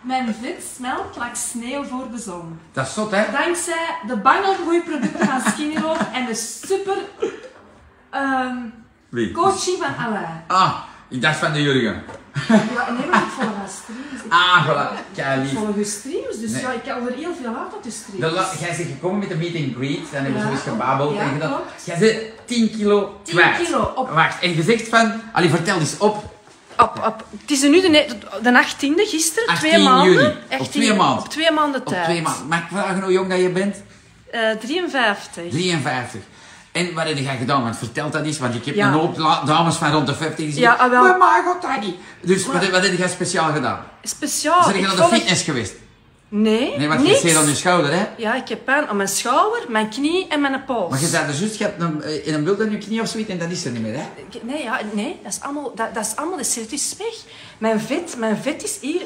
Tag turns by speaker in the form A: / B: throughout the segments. A: Mijn wit smelt lijkt sneeuw voor de zon.
B: Dat is zot, hè?
A: Dankzij de bangelgroeiproducten van Skinnyloop en de super ehm
B: Wie?
A: coaching van Alain.
B: Ah, ik dacht van de Jurgen.
A: Ja, nee, maar ik volg haar streams. Ik
B: Ah, voilà. Kei lief.
A: volg je streams, dus
B: Nee.
A: ja, ik hou er heel veel uit op de
B: De
A: streams.
B: la- jij bent gekomen met de meet and greet, dan hebben ze
A: Ja.
B: eens gebabbeld
A: Ja,
B: en gedaan.
A: klopt.
B: Jij bent 10 kilo
A: 10
B: kwijt.
A: kilo op.
B: Wacht, en je zegt van, allee, vertel eens op.
C: Op, op. Het is nu de, ne- de 18e, gisteren,
B: 18
C: twee maanden.
B: juli. Op twee maanden.
C: Op twee maanden
B: Op
C: tijd.
B: twee maanden. Mag ik vragen hoe jong dat je bent?
C: Eh, 53.
B: 53. En wat heb jij gedaan? Want vertel dat eens, want ik heb
C: Ja.
B: een hoop la- dames van rond de 50
C: Ja,
B: die zeggen,
C: ah, wel.
B: Maar mij gaat dat niet. Dus wat, wat heb jij speciaal gedaan?
C: Speciaal.
B: Zijn
C: ik
B: je naar
C: volg-
B: de fitness geweest?
C: Nee,
B: Nee, want
C: niks.
B: je zit aan je schouder, hè?
C: Ja, ik heb pijn aan mijn schouder, mijn knie en mijn pols.
B: Maar je zei er juist, je hebt een, eh, in een bult aan je knie of zoiets en dat is er niet meer, hè?
C: Ik- Nee, ja, nee dat, is allemaal, dat, dat is allemaal, dat is- het is weg. Mijn vet, mijn vet is hier.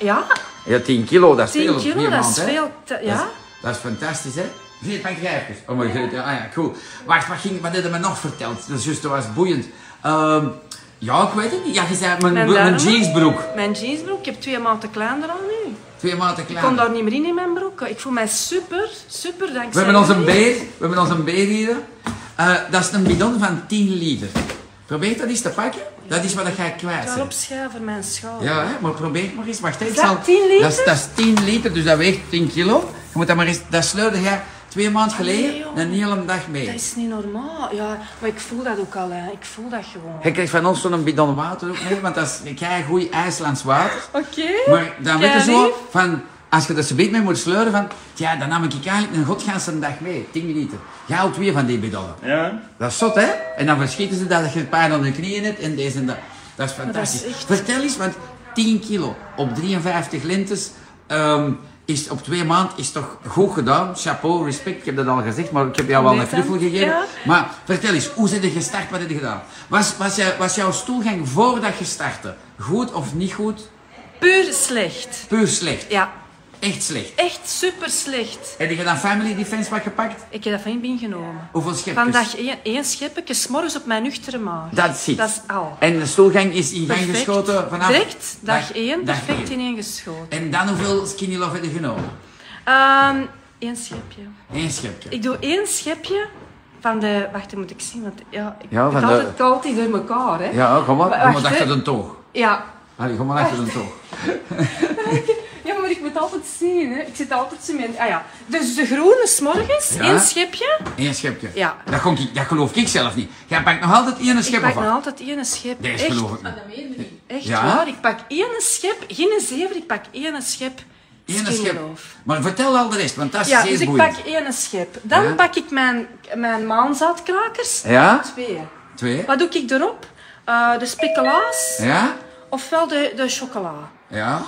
C: Ja,
B: Ja, 10 kilo, dat is
C: 10
B: veel op
C: kilo,
B: vier
C: dat is
B: maanden, hè?
C: veel. te-
B: Dat
C: ja.
B: is, dat is fantastisch, hè? Greet, mijn grijpjes. Oh, maar Greet, ja, ah ja, cool. Wacht, wat, ging, wat hadden we nog verteld? Dat is juist, dat was boeiend. Ehm, ja, ik weet het niet. Ja, je zei mijn,
C: Mijn
B: mijn,
C: darmen?
B: jeansbroek.
C: Mijn jeansbroek, ik heb twee maanden kleiner aan nu.
B: Twee maten
C: Ik
B: klaar.
C: kon daar niet meer in in mijn broek. Ik voel mij super, super dankzij
B: We hebben onze
C: jullie.
B: beer, we hebben onze beer hier. Eh, dat is een bidon van 10 liter. Probeer dat eens te pakken. Dat is wat ik ga
C: Ik
B: kwijt
C: ga
B: zijn.
C: opschuiven mijn schouder.
B: Ja, hè, maar probeer maar eens. Wacht, hè, ik
C: Oh. dat 10 liter?
B: Dat is, dat is 10 liter, dus dat weegt 10 kilo. Je moet dat maar eens... Dat sleurde jij twee maanden
C: Allee,
B: geleden
C: joh.
B: een hele dag mee.
C: Ah, Dat is niet normaal. Ja, maar ik voel dat ook al. Hè. Ik voel dat gewoon.
B: Je krijgt van ons zo'n bidon water ook mee, want dat is kei goed IJslands water.
C: Oké.
B: Maar dan weet
C: Kei
B: je
C: lief.
B: zo van, als je er zo mee moet sleuren, van, ja, dan nam ik eigenlijk een godganse dag mee, 10 liter. Je haalt weer van die bidonnen.
D: Ja.
B: Dat is zot, hè? En dan verschieten ze dat je pijn aan de knieën hebt en deze en dat. Dat is fantastisch.
C: dat is echt-
B: Vertel eens, want 10 kilo op 53 lentes ehm, is op twee maanden is toch goed gedaan. Chapeau, respect, ik heb dat al gezegd, maar ik heb jou wel een
C: Bedankt,
B: knuffel gegeven.
C: ja.
B: Maar vertel eens, hoe zit je gestart, wat heb je gedaan? Was, was, jij- was jouw stoelgang voordat je startte goed of niet goed?
C: Puur slecht.
B: Puur slecht,
C: Ja,
B: echt slecht.
C: echt super slecht.
B: Heb je dan Family Defense wat gepakt?
C: Ik heb dat van je bin genomen.
B: Hoeveel schepjes?
C: Vandaag één, één schepje, s'morgens op mijn nuchtere maag.
B: Dus Dat zit.
C: Dat is al.
B: En de stoelgang is in gang
C: Perfect.
B: geschoten vanaf...
C: Direct, dag 1,
B: dag
C: perfect
B: één.
C: ineengeschoten.
B: En dan hoeveel skinny love heb je genomen?
C: Eén één schepje.
B: Eén schepje.
C: Ik doe één schepje van de... Wacht, dat moet ik zien, want ja, ik
B: Ja,
C: ja,
B: van
C: het
B: de-
C: altijd, het altijd door elkaar. Hè.
B: Ja, oh, kom maar. Kom
C: Wacht,
B: maar
C: hè.
B: achter een toog.
C: ja.
B: Allee, kom maar achter een toog.
C: Ja, maar ik moet altijd zien, hè. Ik zit altijd zo met... Ah ja, dus de groene s'morgens,
B: Ja.
C: één schepje.
B: Eén schepje.
C: Ja.
B: Dat, kon ik, dat geloof ik zelf niet. Jij pakt nog altijd één
C: Ik
B: schep
C: pak
B: of
C: nog
B: wat?
C: altijd één schep.
B: Deze
C: Echt,
B: geloof ik niet.
C: echt
B: Ja?
C: waar. Ik pak één schep, geen zeven, ik pak één schep.
B: Eén
C: skinny
B: schep.
C: loaf.
B: Maar vertel al de rest, want dat is
C: Ja,
B: zeer
C: dus ik
B: boeiend.
C: pak één schep. Dan
B: Ja?
C: pak ik mijn, mijn maanzaadkrakers.
B: Ja?
C: Twee.
B: Twee.
C: Wat doe ik erop? Eh, de speculaas,
B: Ja?
C: ofwel de, de chocola.
B: Ja?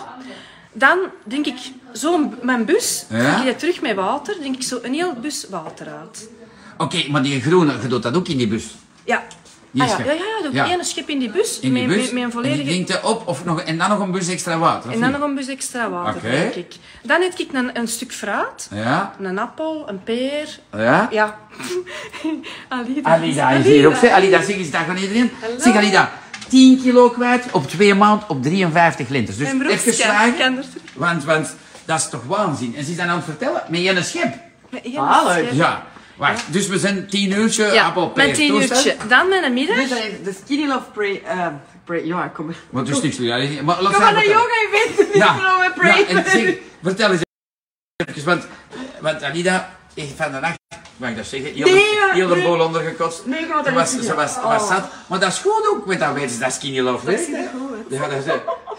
C: Dan denk ik, zo'n mijn bus,
B: Ja?
C: vul ik die terug met water, denk ik zo een heel bus water uit.
B: Oké, maar die groene, je doet dat ook in die bus.
C: Ja.
B: Die
C: Ah, ja.
B: schep.
C: ja, ja, ja, doe ik
B: Ja.
C: één schep in die bus,
B: In die
C: met,
B: bus.
C: met, met een
B: En die
C: volledige...
B: drinkt hij op of nog, en dan nog een bus extra water. of
C: En dan
B: niet?
C: nog een bus extra water,
B: Oké.
C: denk ik. Dan heb ik een, een stuk fruit,
B: Ja?
C: een appel, een peer.
B: Ja?
C: Ja. Alida.
B: Alida is hier ook.
C: Alida.
B: zeg. Alida, zeg eens dag aan iedereen.
C: Hallo.
B: Zeg Alida, 10 kilo kwijt op twee maanden op 53 linters. Dus
C: Mijn broek
B: even
C: schuift, kan
B: slagen.
C: er terug.
B: Want, want dat is toch waanzin. En ze is dan aan het vertellen met Jenne Schip.
C: Met één
B: Hallo.
C: schep.
B: Ah, Ja. Wacht, dus we zijn 10 uurtje
C: Ja,
B: appel
C: met tien uurtje. Dan met een middag.
E: Dus dat is de Skinny Love Pray. eh, pray ja, kom maar.
B: Want dus niks meer. Maar laat
E: Kom
B: haar
E: maar naar
B: vertellen.
E: yoga, je weet het niet
B: Ja.
E: van mijn
B: ja, en
E: pray.
B: zeg, vertel eens even, want, want Alida is van de nacht, mag ik dat zeggen, heel,
E: Nee, maar-
B: heel de
E: nee.
B: bol ondergekotst.
E: Nee, ik wou dat
B: ze
E: niet Oh.
B: was,
E: zeggen.
B: ze was, ze was zat. Maar dat is goed ook met dat weten, dat skinny love. hè? Ja, dat is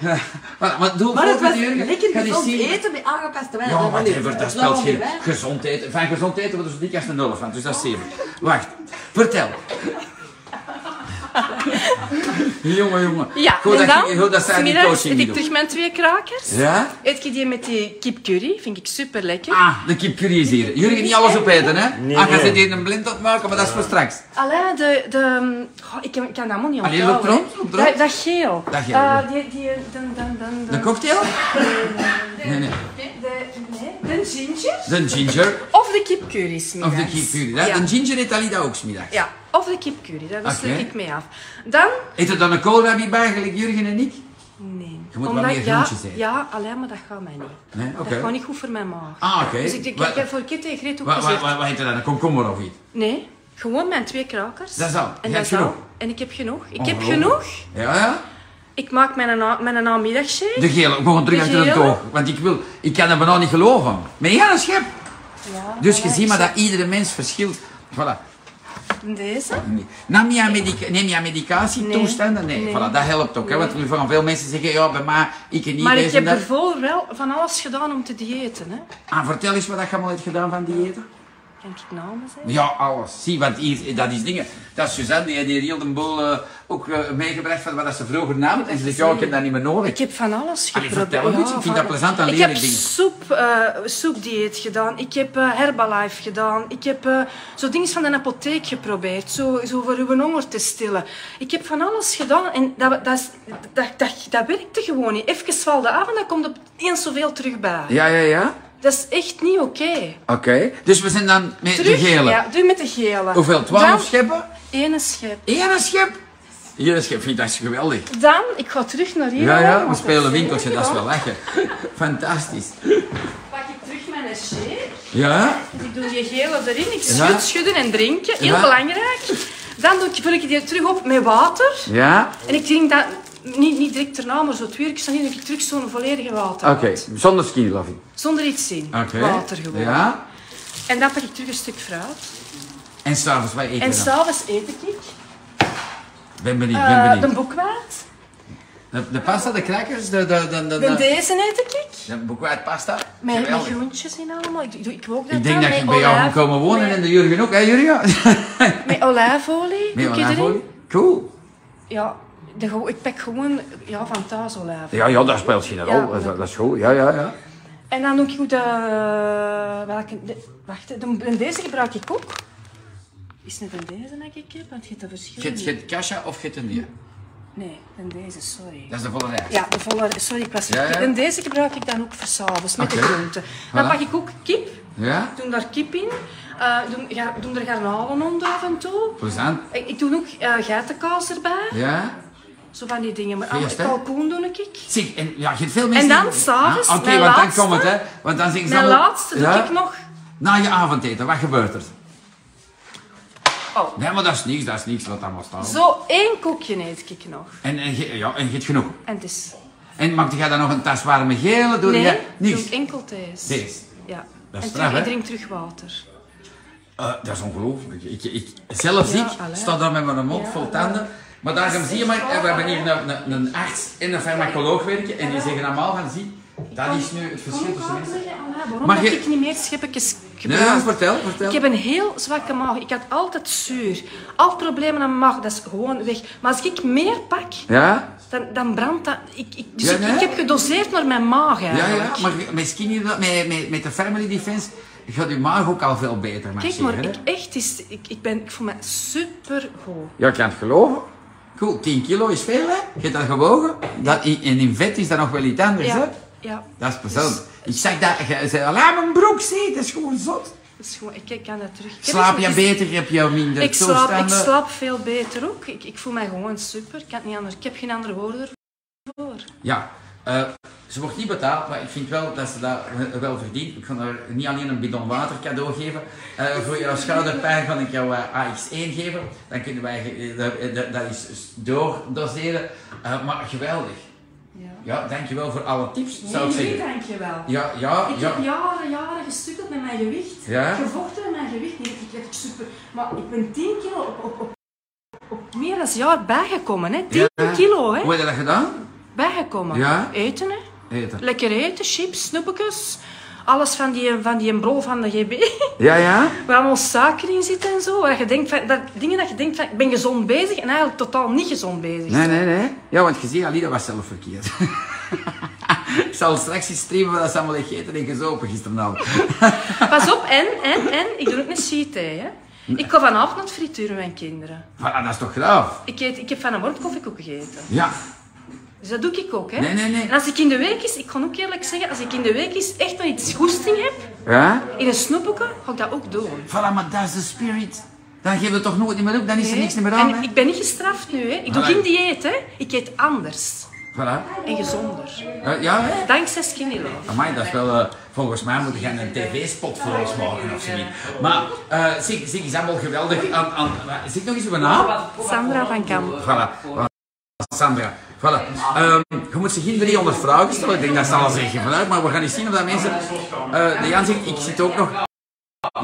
B: ja. Maar, maar doe
E: Maar het was
B: volgende uur,
E: lekker
B: ga die
E: gezond
B: zien-
E: eten met aangepaste wijn.
B: Ja,
E: dat
B: wat
E: is-
B: even, dat
E: is
B: speelt
E: wel
B: geen
E: niet, hè.
B: gezond eten. Van gezond eten wordt er zo dik als een nul van, dus dat is zeven. Wacht, vertel. jongen, jongen.
C: Ja,
B: goed
C: en
B: dat,
C: dan,
B: je- goed dat zij die
C: middags
B: coaching
C: eet ik
B: niet doet.
C: terug mijn twee krakers.
B: Ja?
C: Eet ik die met die kipcurry, vind ik super lekker.
B: Ah, de kipcurry is hier. Jullie gaan niet alles opeten, hè?
D: Nee,
B: ah, je
D: nee.
B: zit hier een blind op maken, maar dat is voor straks.
C: Alleen de... de goh, ik kan ik kan dat allemaal niet
B: Allee,
C: onthouden.
B: loop rond, loop
C: dat,
B: rond.
C: dat geel.
B: Dat geel,
C: Eh,
B: ja.
C: die, die, dan, dan, dan,
B: De
C: dan.
B: cocktail? Nee, nee.
C: De, nee, de ginger.
B: De ginger
C: Of de kipcurry smiddags.
B: of de kipcurry. hè?
C: Ja.
B: De ginger eet Alida ook smiddags.
C: Ja, of de kipcurry, daar
B: Oké.
C: sluit ik mee af. Dan,
B: Eet er dan een koolrabi bij, gelijk Jurgen en ik?
C: Nee.
B: Je moet wat meer
C: ja,
B: groentjes eten.
C: ja, alleen maar dat gaat mij niet.
B: Nee? Oké.
C: Dat gaat niet goed voor mijn maag.
B: Ah, oké.
C: Dus ik, denk,
B: Wa-
C: ik heb voor Kitty en Greet ook
B: Wat, wat,
C: gezegd.
B: wat, wat heet dat dan? Een komkommer of iets?
C: Nee, gewoon mijn twee krakers.
B: Dat is al. Je
C: En
B: hebt
C: dat is al.
B: genoeg. Oh.
C: En ik heb genoeg. Ik heb
B: Ongelooflijk.
C: genoeg.
B: Ja, ja.
C: Ik maak mijn, na- mijn namiddagshake.
B: De gele, ik gewoon terug
C: De
B: achter het
C: gele?
B: oog. Want ik, wil, ik kan dat bijna niet geloven. Maar ja, dat schep.
C: Ja,
B: Dus
C: voilà,
B: je ziet
C: Oh, ik
B: maar dat iedere mens verschilt. Voilà.
C: zet Deze.
B: Nam je aan medica neem je aan medicatietoestanden? Nee.
C: Nee.
B: Voilà, dat helpt ook. Hè? Want er gaan veel mensen zeggen, ja, bij mij, ik niet.
C: Maar
B: deze
C: ik heb
B: en dat.
C: bijvoorbeeld wel van alles gedaan om te diëten. Hè.
B: Ah, vertel eens wat je allemaal hebt gedaan van diëten.
C: Kan ik namen zeggen?
B: Ja, alles. Zie, want hier, dat is dingen. Dat is Suzanne, die heeft hier heel de boel eh, ook eh, meegebracht van wat dat ze vroeger nam. En ze zegt, ja, ik heb dat niet meer nodig.
C: Ik heb van alles
B: Allee,
C: geprobeerd.
B: vertel eens, ik vind dat
C: van-
B: plezant aan
C: Ik
B: leren
C: heb
B: dingen.
C: soep, eh, soepdieet gedaan. Ik heb eh, Herbalife gedaan. Ik heb eh, zo dingen van de apotheek geprobeerd. Zo, zo voor uw honger te stillen. Ik heb van alles gedaan en dat, dat, is- dat, dat, dat werkte gewoon niet. Even valde af en dan komt er eens zoveel terug bij.
B: Ja, ja, ja.
C: Dat is echt niet oké.
B: Oké. Dus we zijn dan met
C: Terug,
B: de gele.
C: Ja, doe met de gele.
B: Hoeveel? Twaalf
C: Dan
B: scheppen?
C: Ene schep.
B: Eén schep? Eén schep, vind ik dat is geweldig.
C: Dan, ik ga terug naar hier. Oh,
B: Ja, ja,
C: want
B: we
C: dat
B: spelen
C: is
B: winkeltje,
C: heel
B: dat is wel
C: gedaan.
B: lachen. Fantastisch.
C: Pak ik terug mijn shake.
B: Ja?
C: Dus ik doe die gele erin. Ik
B: Ja.
C: schud, schudden en drinken. Heel
B: Ja.
C: belangrijk. Dan doe ik, vul ik die terug op met water.
B: Ja?
C: En ik drink dat niet, niet direct erna, maar zo twee uur. Ik sta niet dat ik terug zo'n volledige water
B: Oké,
C: had.
B: zonder skinny loving.
C: Zonder iets in.
B: Oké.
C: Water gewoon.
B: Ja?
C: En dan pak ik terug een stuk fruit.
B: En s'avonds, wat eten
C: En
B: we dan?
C: s'avonds eet ik
B: Ben benieuwd,
C: eh,
B: ben
C: de
B: benieuwd.
C: boekwaard.
B: De, de pasta, de crackers, de... De, de, de,
C: En
B: de,
C: deze eet ik.
B: de boekwaard pasta.
C: Met, met
B: Geweldig.
C: groentjes in allemaal. Ik, doe- ik ook dat
B: Ik denk
C: dan,
B: dat ik
C: met
B: bij jou moet
C: olijf-
B: komen wonen
C: met-
B: en de Jurgen ook, hè Jurgen?
C: Met olijfolie.
B: Nee,
C: doe ik erin.
B: olijfolie. Cool.
C: Ja, de, gewo- ik pak gewoon ja, van thuis olijfolie.
B: Ja, ja, dat speelt geen rol.
C: Ja.
B: dat, dat is goed. Ja, ja, ja.
C: En dan ook goed de... eh, Welke, de wacht, hè, de, en deze gebruik ik ook. Is het een deze dat ik heb? Want je hebt een verschil.
B: Get, get kasha of get een dier?
C: Nee, een deze, sorry.
B: Dat is de volle rij.
C: Ja, de volle... Sorry, ik was...
B: Ja, ja.
C: En deze gebruik ik dan ook voor s'avonds, met
B: Oké.
C: de groenten. Dan
B: Voilà.
C: pak ik ook kip.
B: Ja?
C: Doe daar kip in. Eh doe, ja, doe er garnalen onder af en toe.
B: Plezant.
C: Ik, ik doe ook eh, geitenkaas erbij.
B: Ja?
C: Zo van die dingen. Maar
B: Feest, hè?
C: allemaal kalkoen doe ik.
B: Zeg, en ja, je hebt veel mensen...
C: En dan
B: die-
C: s'avonds,
B: Ah, Oké,
C: mijn
B: want dan
C: laatste.
B: komt het, hè. Want dan zeggen ze
C: Mijn
B: allemaal-
C: laatste doe
B: Ja?
C: ik nog...
B: Na je avondeten, wat gebeurt er?
C: Oh.
B: Nee, maar dat is niks, dat is niks wat dat moet staan.
C: Zo één koekje eet ik nog.
B: En, en, ge- ja, en je hebt genoeg.
C: En het is...
B: En maakte jij dan nog een tas warme gele? Doe
C: Nee,
B: je niks?
C: doe ik enkel deze.
B: Deze.
C: Ja.
B: Dat
C: en
B: is straf,
C: terug,
B: hè?
C: ik drink terug water.
B: Eh, dat is ongelooflijk. Ik, ik, zelfs
C: Ja,
B: ik
C: allee.
B: sta daar met mijn mond
C: Ja,
B: vol
C: allee.
B: tanden. Maar daarom zie je maar, eh, we hebben hier een, een, een arts en een farmacoloog werken. En die zeggen allemaal van, zie, dat is nu het verschil tussen mensen.
C: Waarom
B: Mag
C: dat
B: je-
C: ik niet meer scheppetjes
B: Nee,
C: gebruik?
B: ja, vertel, vertel.
C: Ik heb een heel zwakke maag. Ik had altijd zuur. Al problemen aan mijn maag, dat is gewoon weg. Maar als ik meer pak,
B: Ja?
C: dan, dan brandt dat. Ik, ik, dus
B: Ja,
C: ik,
B: nee.
C: ik heb gedoseerd naar mijn maag
B: Ja,
C: eigenlijk.
B: ja, maar met skinny, met, met, met de family defense, gaat je maag ook al veel beter
C: Kijk
B: marcheren.
C: maar,
B: hè?
C: ik, echt is, ik, ik, ben, ik voel me supergoed.
B: Ja, ik kan het geloven. Cool, 10 kilo is veel, hè? Je hebt dat gewogen. Dat, en in vet is dat nog wel iets anders, hè?
C: Ja, ja. Dus,
B: Dat is plezant. Ik zeg dat, je zei, laat mijn broek zitten, dat is gewoon zot.
C: Dat is dus gewoon, ik, ik kan dat terug. Ik heb
B: Slaap
C: eens-
B: je
C: eens-
B: beter, heb je minder
C: Ik slaap,
B: toestanden.
C: ik slaap veel beter ook. Ik, ik voel mij gewoon super. Ik, kan het niet anders. ik heb geen andere woorden ervoor.
B: Ja, eh, ze wordt niet betaald, maar ik vind wel dat ze dat eh, wel verdient. Ik ga haar niet alleen een bidon water cadeau geven. eh, voor jouw schouderpijn kan ik jou eh, AX1 geven. Dan kunnen wij eh, dat, dat- dat is dus doordoseren. Eh, maar geweldig.
C: Ja.
B: Ja, dankjewel voor alle tips, zou ik zeggen.
C: dankjewel.
B: Ja, ja,
C: Ik
B: ja.
C: heb jaren, jaren gestukkeld met mijn gewicht.
B: Ja?
C: Gevochten met mijn gewicht. Nee, ik, ik, super. Maar ik ben 10 kilo op, op, op, op meer dan een jaar bijgekomen. Hè. 10
B: Ja.
C: kilo hè.
B: Hoe heb je dat gedaan?
C: bijgekomen.
B: Ja.
C: Eten, hè.
B: Eten.
C: lekker eten, chips, snoepjes. Alles van die, van die brol van de GB.
B: Ja, ja.
C: Waar allemaal suiker in zit en zo. Waar je denkt van, dat, dingen dat je denkt van, ik ben gezond bezig en eigenlijk totaal niet gezond bezig.
B: Nee, nee, nee. Ja, want je ziet, Ali, dat was zelf verkeerd. ik zal straks eens streamen wat dat ze allemaal gegeten en gezopen gisteravond.
C: Pas op, en, en, en, ik doe ook een cheat day, hè. Ik ga vanavond naar het frituur met mijn kinderen.
B: Voilà, dat is toch graaf?
C: Ik, eet, ik heb van een morgen koffiekoek gegeten.
B: Ja.
C: Dus dat doe ik ook, hè.
B: Nee, nee, nee.
C: En als ik in de week is, ik kan ook eerlijk zeggen, als ik in de week is echt nog iets goesting heb,
B: Ja?
C: in een snoepje, ga ik dat ook doen.
B: Voilà, maar dat is de spirit. Dan geven we toch nooit niet meer op, dan is er niks meer aan.
C: En
B: hè?
C: ik ben niet gestraft nu, hè. Ik doe
B: Nee.
C: geen dieet, hè. Ik eet anders.
B: Voilà.
C: en gezonder.
B: Eh, ja, hè?
C: Dankzij Skinny Love.
B: Amai, dat is wel... eh, volgens mij moet je een tv-spot voor ons maken of zoiets. Maar eh zeg, zeg is allemaal geweldig aan... aan zeg nog eens uw naam.
C: Sandra van Kamp.
B: Voilà. voilà. Sandra. Voilà. Ehm, je moet ze geen 300 vragen stellen. Ik denk dat ze al zeggen vanuit, maar we gaan eens zien of dat mensen. Eh, de Jan zegt, ik zit ook nog.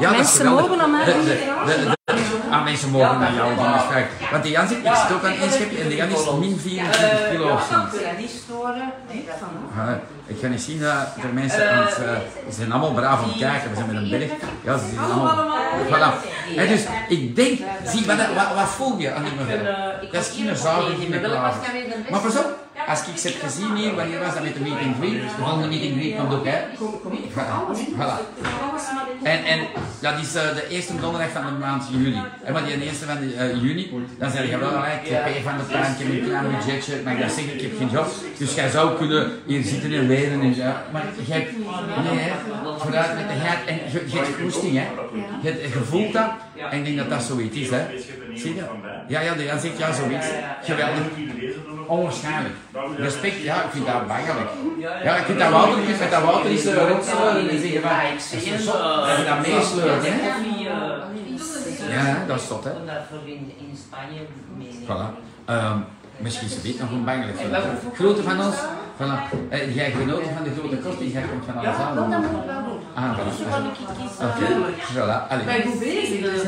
B: Ja, dat is
C: Mensen
B: geweldig.
C: mogen aan mij
B: De- de- de- de- Ah, mensen mogen naar jou doen. dat is fijn. Want de Jan zegt, ik zit ook aan één schepje en de Jan is min 24 kilo of zoiets.
D: niet storen. Nee, dat kan ook.
B: Ja, Ik ga niet zien dat er mensen aan het, eh, Ze zijn allemaal braaf aan het kijken. We zijn met een berg. Ja, ze zitten allemaal... Voilà. Hè, dus ik denk... Zie, wat, wat, wat voel je aan die mevrouw?
D: Ik
B: Dat is
D: was
B: geen
D: hier
B: zaal,
D: nog
B: geen
D: niet, maar welk
B: klaver.
D: was daar weer de beste?
B: Maar pas op, als ik ze heb gezien hier, wanneer was dat met de meeting 3? De volgende meeting 3 komt ook, hè? Voilà. voilà. En, en dat is eh, de eerste donderdag van de maand juli. En wat die eerste van de, eh, juni, dan zeg je wel, hè, ik heb één van de pijn, ik heb een klein budgetje, maar ik dat zeggen, ik heb geen job. Dus jij zou kunnen hier zitten en leren en ja. Maar je hebt, nee, hè, vooruit met de geit. En je, je hebt goesting, hè. Je, hebt- je voelt dat, en ik denk dat dat zoiets is, hè. Zie je dat? Ja, ja, de Jan zegt ja, zoiets. Geweldig. Onwaarschijnlijk. Respect, ja, ik vind dat belachelijk. Ja, ik vind dat Wouter, ik vind dat Wouter is eh, rotsleuren en zeggen van, ik zeg je zo, dat je dat meesleuren, eh, hè. Ja, dat is tot, hè.
D: Omdat we in, in Spanje meenemen.
B: Voilà. Ehm, misschien is dit nog een bangelijk verhaal. Grote van ons. Voilà. Eh, jij genoten van de grote kost en jij komt van alles aan.
D: Dat moet ik wel doen.
B: Ah, voilà.
D: er Zo kan ik het kiezen. dus
B: Oké, voilà. Allee.
A: goed bezig.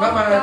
B: Maar, maar,